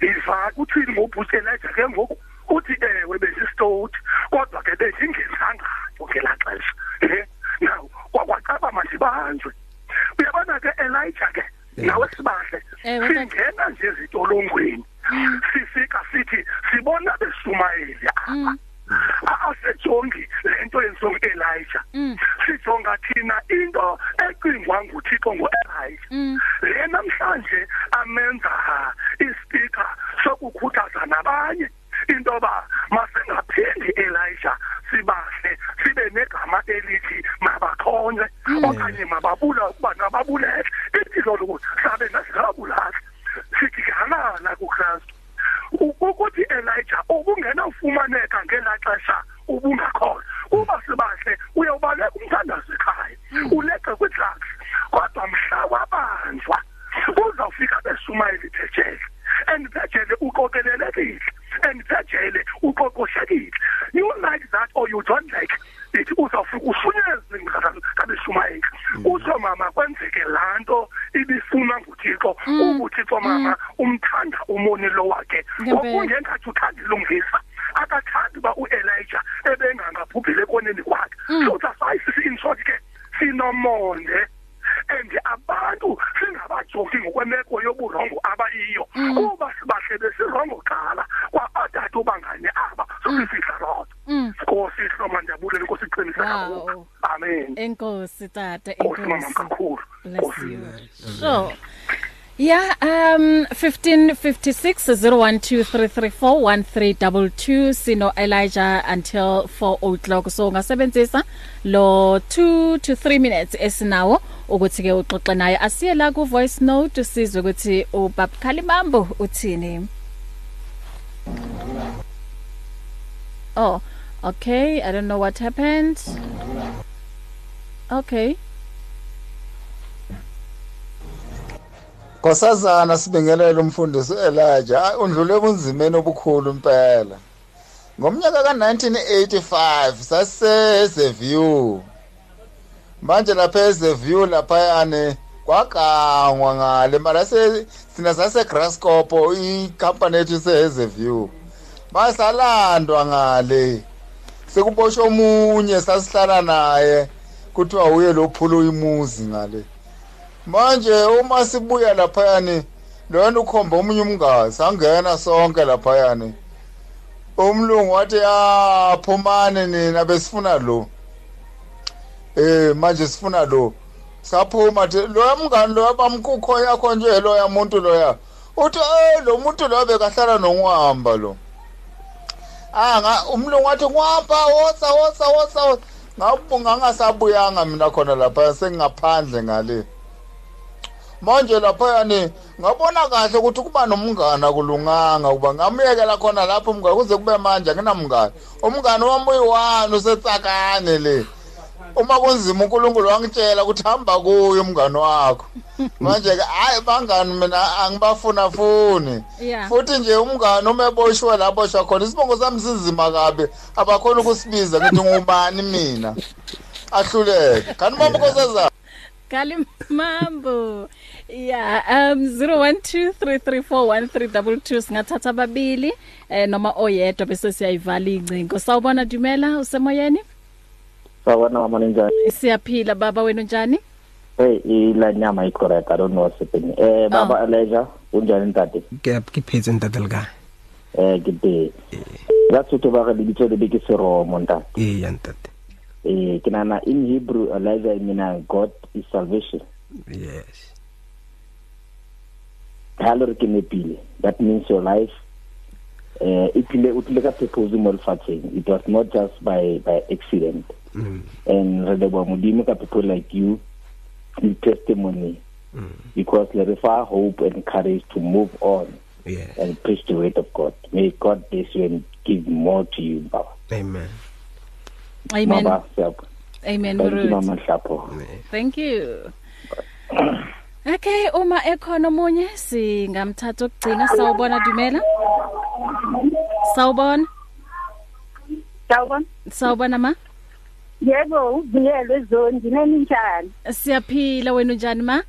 F: iva kuthini ngobhuti elija ke ngoku uthi ewe besistowuthi kodwa ke bendingensangayo ngelaa xesha e now kwakwacaba mandibanjwe uyabona ke elija ke nawe sibahle
B: Ewe, tata.
F: singena nje ezitolongweni sifika sithi sibona beshumayeli apha asejongi lento yenziwa ngu-elija sijonga thina into ecingwa nguthixo
B: Mm.
F: ngo-elija le namhlanje amenza ispika sokukhuthaza nabanye into yoba masingaphindi elija sibahle sibe negama elithi mabakhonze okanye mababula ukuba nababulele impilo loku sabe nasingabulahla sithi halala kukristu ukuthi elija ubungenafumaneka ngelaa xesha ubungakhoyo uba sibahle uyawubaleka umthandazo ekhaya uleqe kwidrugs kodwa mhla wabanjwa uzawufika beshumayeli ijejele and ijejele uqokelelekile and ijejele uqoqoshekile you like that or you don't like it uzawufika ushunyezwe ngabeshumayeli utsho mama kwenzeke laa nto ibifunwa nguthixo ubuthixo mama umthanda umoni lo wakhe
B: Ngempela.
F: okungengathi uthanda ilungisa akathandi uba uelija ebengangabhubhile ekoneni kwakhe
B: Mm.
F: so sasayisisi inshort ke sinomonde and abantu singabajongi ngokwemeko yoburongo abayiyo
B: Mm.
F: kuba sibahle besirongo qala kwa-adade ubangane aba sokifihla loo
B: Mm.
F: nto nkosi hloma ndiyabulela nkosi iqinisa kakhulu
B: Wow.
F: amen
B: Enkosi tata,
F: nkosi mama
B: enkosi.
F: kakhulu
B: Bless you. So, yeah, um 15560123341322 sino Elijah until 4 o'clock. So ungasebenzisa lo 2 to 3 minutes esinawo ukuthi ke uxoxe naye. Asiye la ku voice note sizwe ukuthi ubabkhali mambo uthini. Oh, okay. I don't know what happened. Okay.
G: Nkosazana sibingelele umfundisi uElijah Ay, undlule kunzimeni obukhulu impela. Ngomnyaka ka1985 sasezeview. Manje lapha ezeview lapha yani kwakangwa ngale mara se sina sase Grascopo i-company ethu sezeview. Basalandwa ngale. Sekuboshwe omunye sasihlala naye kuthiwa uye lophula imuzi ngale. manje uma sibuya laphayani lona ukhomba omunye umngazi sangena sonke laphayani umlungu wathi ah phumani nina besifuna lo eh manje sifuna lo saphuma thi lo mngani lo bamkukho yakho nje lo yamuntu loya uthi eh lo muntu lo bekahlala nongwamba lo anga umlungu wathi ngwapha wotsa wotsa wotsa ngabunga ngasabuyanga mina khona lapha sengaphandle ngale manje laphayani ngabona kahle ukuthi kuba nomngane kulunganga kuba ngamyekela khona lapho umngane kuze kube manje anginamngane umngane wami uyi-one usetsakane le uma kunzima unkulunkulu wangitshela ukuthi hamba kuyo umngane wakho manje-ke hhayi bangani mina angibafunafuni
B: Yeah.
G: futhi nje umngane uma eboshwe la aboshwa khona isibongo sami sinzima kabi abakhona ukusibiza ngithi ngubani mina ahluleke kanti mama nkosazana
B: Kalimambo. Yeah, um 0123341322 singathatha ababili eh noma oyedwa bese siyayivala incingo. Sawubona Dumela usemoyeni?
H: Sawubona mama ninjani?
B: Siyaphila baba wena unjani?
H: Hey, ila E, nyama iko right. I don't know what's happening. Eh baba Elijah, unjani ntate?
C: ke ke phetse ntate le kae
H: Eh gidi. That's what ba re bitse le beke seromo ntate.
C: ee ya ntate
H: Eh ke nana in Hebrew Elijah it means uh, God is salvation.
C: yes
H: Ha lo re ke nepile. That means your life eh ipile o tlile ka purpose mo lefatsheng. It was not just by by accident.
C: Mm.
H: And re leboha modimo ka people like you the testimony because le re fa hope and courage to move on.
C: yes
H: and preach the word of God. May God bless you and give more to you, Baba.
C: amen
B: Amen.
H: Baba, help.
B: Amen.
H: Thank you,
B: Ruth.
H: Mama Hlapo.
B: Thank you. Okay, uma ekhona omunye singamthatha ukugcina sawubona Dumela. Sawubona.
I: Sawubona.
B: Sawubona ma.
F: yebo uvuyelwe zondi nani njani
B: siyaphila wena unjani ma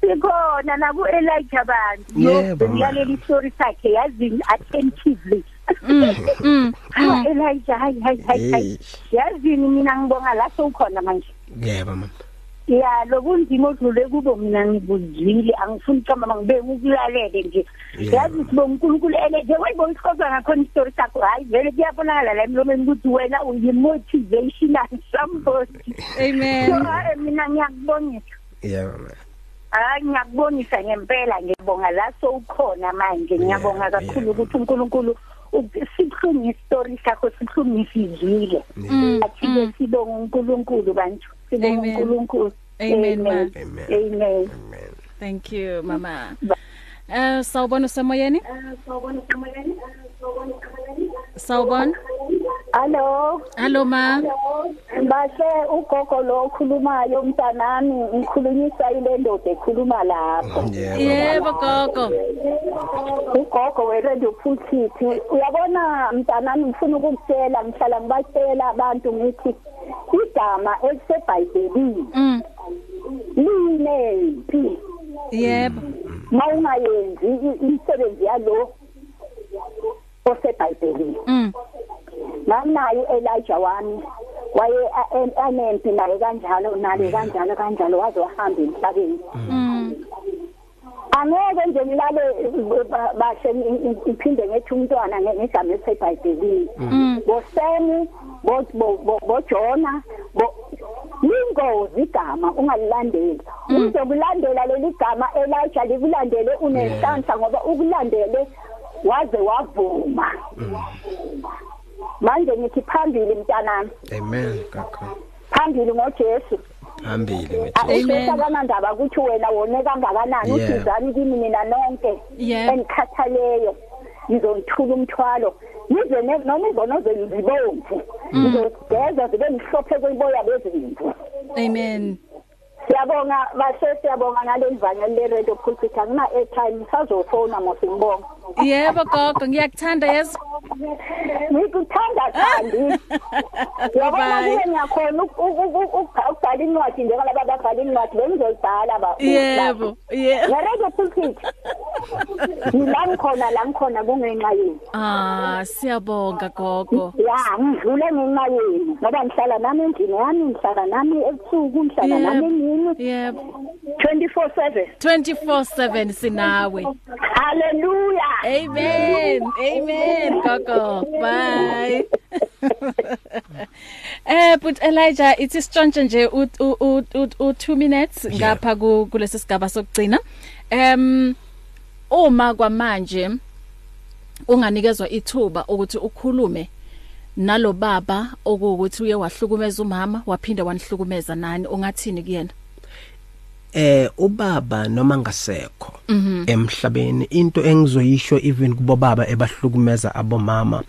F: sikhona naku Elijah abantu
C: Yebo, ma.
F: ngilalela istory sakhe yazi attentively *laughs* Ha, Elijah hayi hayi hayi
C: Hey.
F: hayi yazi mina ngibonga la sewukhona manje
C: yebo mama
F: ya lobunzima odlule kubo mina ngibuzile angifuni ukuhamba ngibe ukulalele nje
C: Yeah.
F: yazi sibo unkulunkulu ene nje wayibo isikhozwa ngakhona isitori sakho hayi vele kuyabonakala la emlomeni ukuthi wena uyi-motivational somebody *laughs*
B: amen
F: so eh, mina ngiyakubonisa
C: yebo mama
F: hayi ngiyakubonisa ngempela ngiyabonga la sowukhona manje ngiyabonga
C: Yeah,
F: kakhulu
C: yeah.
F: ukuthi unkulunkulu u- sibuhlunge isitori sakho sibuhlunge sizile
C: Yeah.
F: athi-ke sibonge unkulunkulu bantu sibonge
B: Amen.
F: unkulunkulu
B: Amen, ma.
C: Amen.
F: amen
C: amen
B: thank you mama eh sawubona usemoyeni sawubona
F: Hello.
B: hello ma
F: Base ugogo lo okhulumayo mntanami ngikhulunyisa ile ndoda ekhuluma lapho.
C: yebo
B: yebo gogo
F: Ugogo weRadio Pulpit uyabona mntanami ngifuna ukukutshela ngihlala ngibatshela abantu ngithi igama eliseBhayibhelini
B: mm
F: linempi
B: yebo
F: mawungayenzi i- imisebenzi yalo oseBhayibhelini.
B: mm
F: nanayo Elijah wami waye a- en- anempi naye kanjalo nale kanjalo kanjalo waze wahamba emhlabeni
B: mm
F: angeke nje ngilale b- ba- bashe ngi- ngi- ngiphinde ngethi umntwana nge- ngegama elisebhayibhelini
B: Mm.
F: bosemi bo- bo- bo- bojona bo- lingozi igama ungalilandeli
B: Mm.
F: uzokulandela leli gama elija likulandele unenhlanhla ngoba ukulandele waze wavuma manje ngithi phambili mntanami
C: amen kakho
F: phambili ngojesu
C: phambili ngithi
B: Amen.
F: akusesakanandaba ukuthi wena wone kangakanani
C: Yeah.
F: usizani kimi mina nonke
B: Yeah.
F: enikhathaleyo ngizonithula umthwalo yize ne- noma izono zenu zibomvu
B: Mm.
F: ngizogeza zibe mhlophe kwiboya bezimvu
B: amen
F: siyabonga bahle siyabonga ngale livangeli leredio pulpit angina-airtime sazofona mosingibonga
B: yebo gogo ngiyakuthanda yezo Ah,
F: ngikuthanda thandi yabona
B: Bye-bye.
F: kuye ngiyakhona uk- uk- uk- uk- ukubhala incwadi njengalaba ababhala incwadi bengizolibhala ba
B: yebo yebo
F: ngeredio pulpit ngila ngikhona la ngikhona kungenxa yenu
B: ah siyabonga gogo
F: ya ngidlule ngenxa yenu ngoba ngihlala nami endlini yami ngihlala nami ebusuku ngihlala nami emini
B: yebo yebo
F: twenty four seven
B: 24/7 sinawe
F: halleluya
B: amen amen gogo bye *laughs* eh but Elijah ithi sitshontshe nje u 2 minutes
C: Yeah.
B: ngapha ku- kulesi sigaba sokugcina em uma kwamanje unganikezwe ithuba ukuthi ukhulume nalo baba okuwukuthi uye wahlukumeza umama waphinda wanihlukumeza nani ungathini kuyena
C: eh ubaba noma ngasekho emhlabeni into engizoyisho even kubo baba ebahlukumeza abomama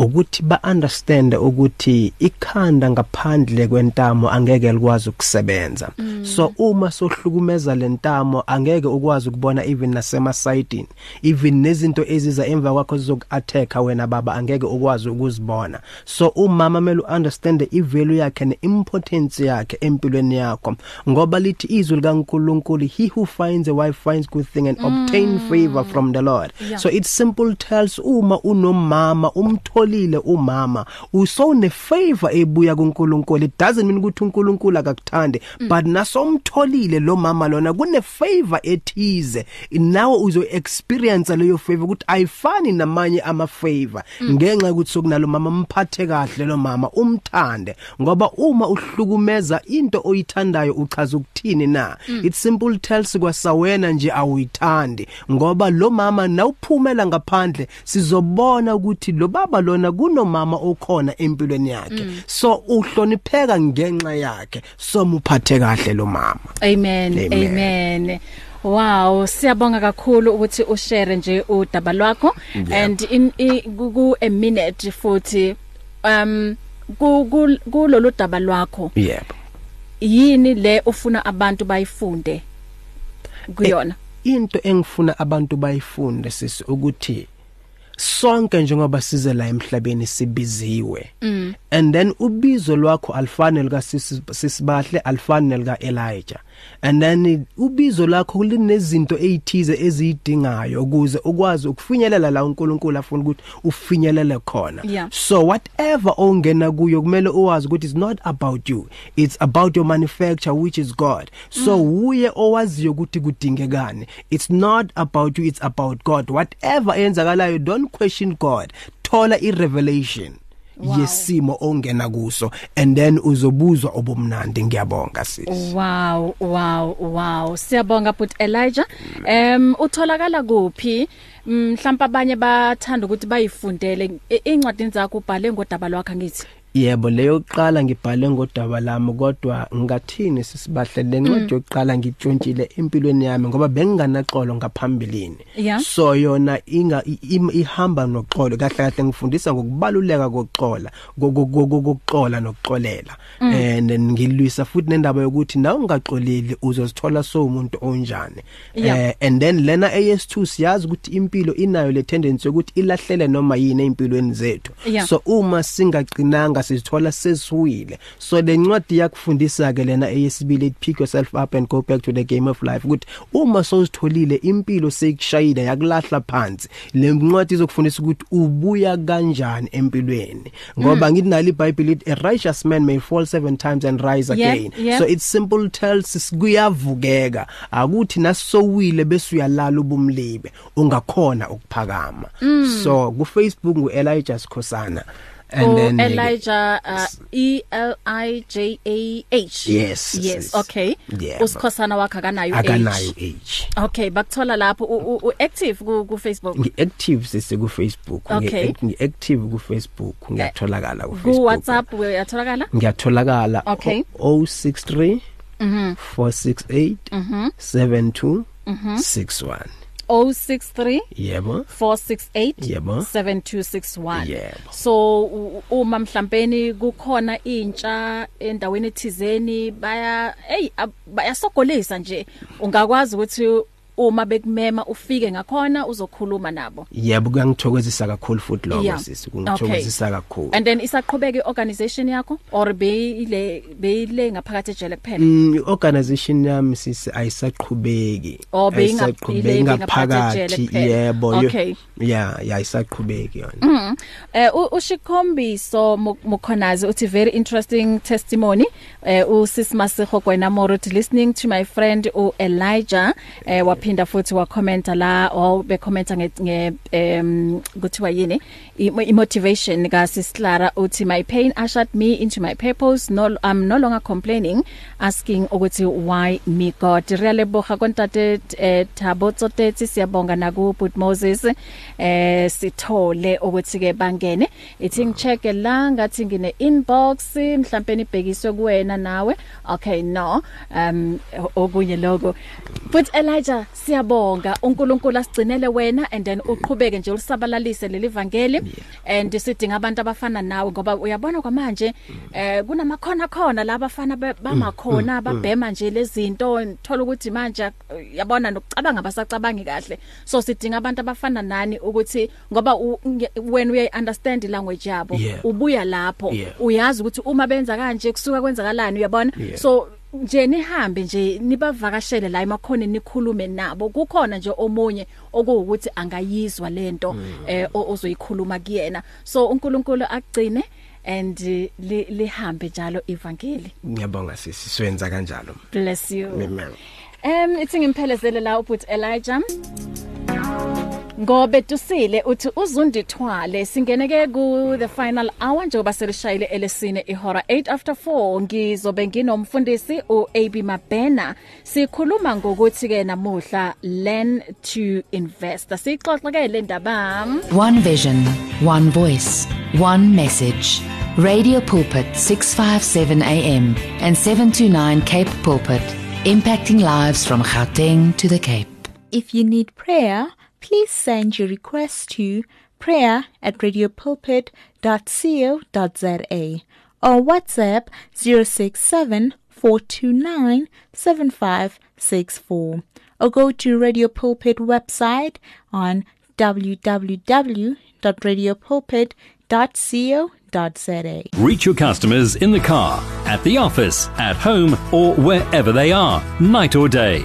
C: ukuthi ba understand ukuthi ikhanda ngaphandle kwentamo angeke likwazi ukusebenza so uma sohlukumeza lentamo angeke ukwazi ukubona even nasema side even nezinto eziza emva kwakho zizokuattack wena baba angeke ukwazi ukuzibona so umama mele understand ivalue yakhe neimportance yakhe empilweni yakho ngoba lithi izwi likaNkuluNkulu he who finds a wife finds good thing and mm. obtain favor from the Lord yeah. so it simple tells uma unomama umtholile umama uso ne favor ebuya kuNkuluNkulu it doesn't mean ukuthi uNkuluNkulu akakuthande mm. but nasomtholile lo mama lona kune favor ethize nawe uzo experience leyo favor ukuthi ayifani namanye ama favor ngenxa yokuthi sokunalo mama mphathe kahle lo mama umthande ngoba uma uhlukumeza into oyithandayo uchaza ukuthini na it simple tells kwasawena nje awuyithandi ngoba lo mama nawuphumela ngaphandle sizobona ukuthi lo baba lona kunomama okhona empilweni yakhe so uhlonipheka ngenxa yakhe so muphathe kahle lo mama
B: Amen.
C: Amen.
B: Amen. Wow, siyabonga kakhulu ukuthi ushare nje udaba lwakho and in i- ku ku- a minute futhi um ku ku- kulolu daba lwakho
C: yebo
B: yini le ufuna abantu bayifunde kuyona?
C: into engifuna abantu bayifunde sisi ukuthi sonke njengoba size la emhlabeni sibiziwe and then ubizo lwakho alifani lika sisibahle alifani lika Elijah and then i- ubizo lakho linezinto ezithize ezidingayo ukuze ukwazi ukufinyelela la uNkulunkulu afuna ukuthi ufinyelele khona
B: Yeah.
C: so whatever ongena kuyo kumele uwazi ukuthi it's not about you it's about your manufacturer which is God so uye owaziyo ukuthi kudingekani it's not about you it's about God whatever eyenzakalayo don't question God thola irevelation
B: Wow.
C: yesimo ongena kuso and then uzobuzwa obumnandi ngiyabonga sisi
B: Wow wow wow siyabonga but Elijah em utholakala kuphi mhlawumbe abanye bathanda ukuthi bayifundele i- incwadi zakho ubhale ngodaba lwakhe ngithi
C: yebo leyo yokuqala ngibhale ngodaba lami kodwa ngathini sisibahle lencwadi yokuqala ngitshontshile empilweni yami ngoba benginganaxolo ngaphambilini
B: Yeah.
C: so yona inga i- im- ihamba noxolo kahle kahle ngifundisa ngokubaluleka kokuxola ko- ko- ko- ko- kokuxola nokuxolela and then ngilwisa futhi nendaba yokuthi nawe ungaxoleli uzozithola sowumuntu onjani
B: Yeah.
C: Eh, and then lena AS2 siyazi ukuthi impilo inayo le tendency yokuthi ilahlele noma yini empilweni zethu
B: Yeah.
C: so uma singaqinanga sizithola sesiwile so le ncwadi yakufundisa ke lena eyesibili ethi pick yourself up and go back to the game of life ukuthi uma sowuzitholile impilo seyikushayile yakulahla phansi le ncwadi izokufundisa ukuthi ubuya kanjani empilweni
B: Mm.
C: ngoba ngithi nalo iBhayibheli lithi a righteous man may fall seven times and rise
B: Yep,
C: again
B: yep.
C: so it's simple tells kuyavukeka akuthi nasowile bese uyalala ubumlibe ungakhona ukuphakama so ku Facebook ngu Elijah Skhosana
B: Mm.
C: and
B: Oh,
C: then
B: Elijah uh, E L I J A H
C: Yes,
B: yes
C: sis.
B: okay
C: Yebo.
B: usikhosana wakhe akanayo
C: akanayo
B: H.
C: age
B: okay bakuthola lapho u- u- u active ku ku Facebook
C: ngiactive sise ku Facebook
B: Okay.
C: ngiactive ku Facebook ngiyatholakala ku
B: ku
C: Facebook
B: WhatsApp uyatholakala
C: ngiyatholakala
B: Okay. Mm-hmm.
C: o- 063 mhm 468 mhm 72 mhm
B: Mm-hmm.
C: 61
B: 063
C: yebo
B: 468
C: Yebo.
B: 7261
C: Yebo.
B: so u- uma mhlambeni kukhona intsha endaweni ethizeni baya hey ab- bayasogolisa nje ungakwazi ukuthi uma bekumema ufike ngakhona uzokhuluma nabo
C: yebo kuyangithokozisa kakhulu futhi lokho
B: Yeah.
C: sisi kungithokozisa kakhulu
B: and then isaqhubeka iorganization yakho or beyile beyile ngaphakathi ejele kuphela
C: Mm, i-organization yami sisi ayisaqhubeki
B: Oh, beyinga- beyile- bengaphakathi ejele
C: ngaphakathi
B: kuphela.
C: yebo yo-
B: Okay.
C: ya ya ayisaqhubeki yona
B: eh u- ushikhombiso Mu- mukhonazi uthi very interesting testimony eh usisimasego kwena moruthi listening to my friend u Elijah eh waphinda futhi wa comment la or be comment nge nge, em kuthiwa yini i i- motivation ka sislara uthi my pain ushered me into my purpose no I'm no longer complaining asking ukuthi why me God really boga kontate eh Thabo Tsotetsi siyabonga naku But Moses eh sithole ukuthi ke bangene ithi ngicheke la ngathi ngine inbox mhlawumbe nibhekiswe kuwena nawe okay no um o- okunye logo but Elijah siyabonga uNkulunkulu asigcinele wena and then uqhubeke nje ulisabalalise leli vangeli and sidinga abantu abafana nawe ngoba uyabona kwamanje eh kunama khona khona laba abafana be- bamakhona babhema nje lezinto thola ukuthi manje ak- yabona nokucabanga basacabangi kahle so sidinga abantu abafana nani ukuthi ngoba u- nge- when we understand language yabo
C: Yeah.
B: ubuya lapho
C: Yeah.
B: uyazi ukuthi uma benza kanje kusuka kwenzakalani uyabona
C: Yeah.
B: so nje nihambe nje nibavakashele la emakhona nikhulume nabo kukhona nje omunye okuwukuthi angayizwa lento
C: Mm.
B: eh o- ozoyikhuluma kuyena so uNkulunkulu akugcine and eh, li- lihambe njalo ivangeli
C: ngiyabonga sisi siwenza kanjalo
B: bless you
C: amen
B: Em ithi ngimphelezelele la ubut Elijah. Ngobe tusile uthi uzundithwale singeneke ku the final hour njengoba selishayile elesine ihora 8 after 4 ngizobe nginomfundisi uAB Mabena sikhuluma ngokuthi ke namuhla learn to invest sixoxe ke le ndaba
E: One vision, one voice, one message. Radio Pulpit 657 AM and 729 Cape Pulpit, impacting lives from Gauteng to the Cape.
J: If you need prayer, please send your request to prayer at radiopulpit.co.za or WhatsApp 067 429 7564 or go to Radio Pulpit website on www.radiopulpit.co.za uk.co.za.
A: Reach your customers in the car, at the office, at home, or wherever they are, night or day.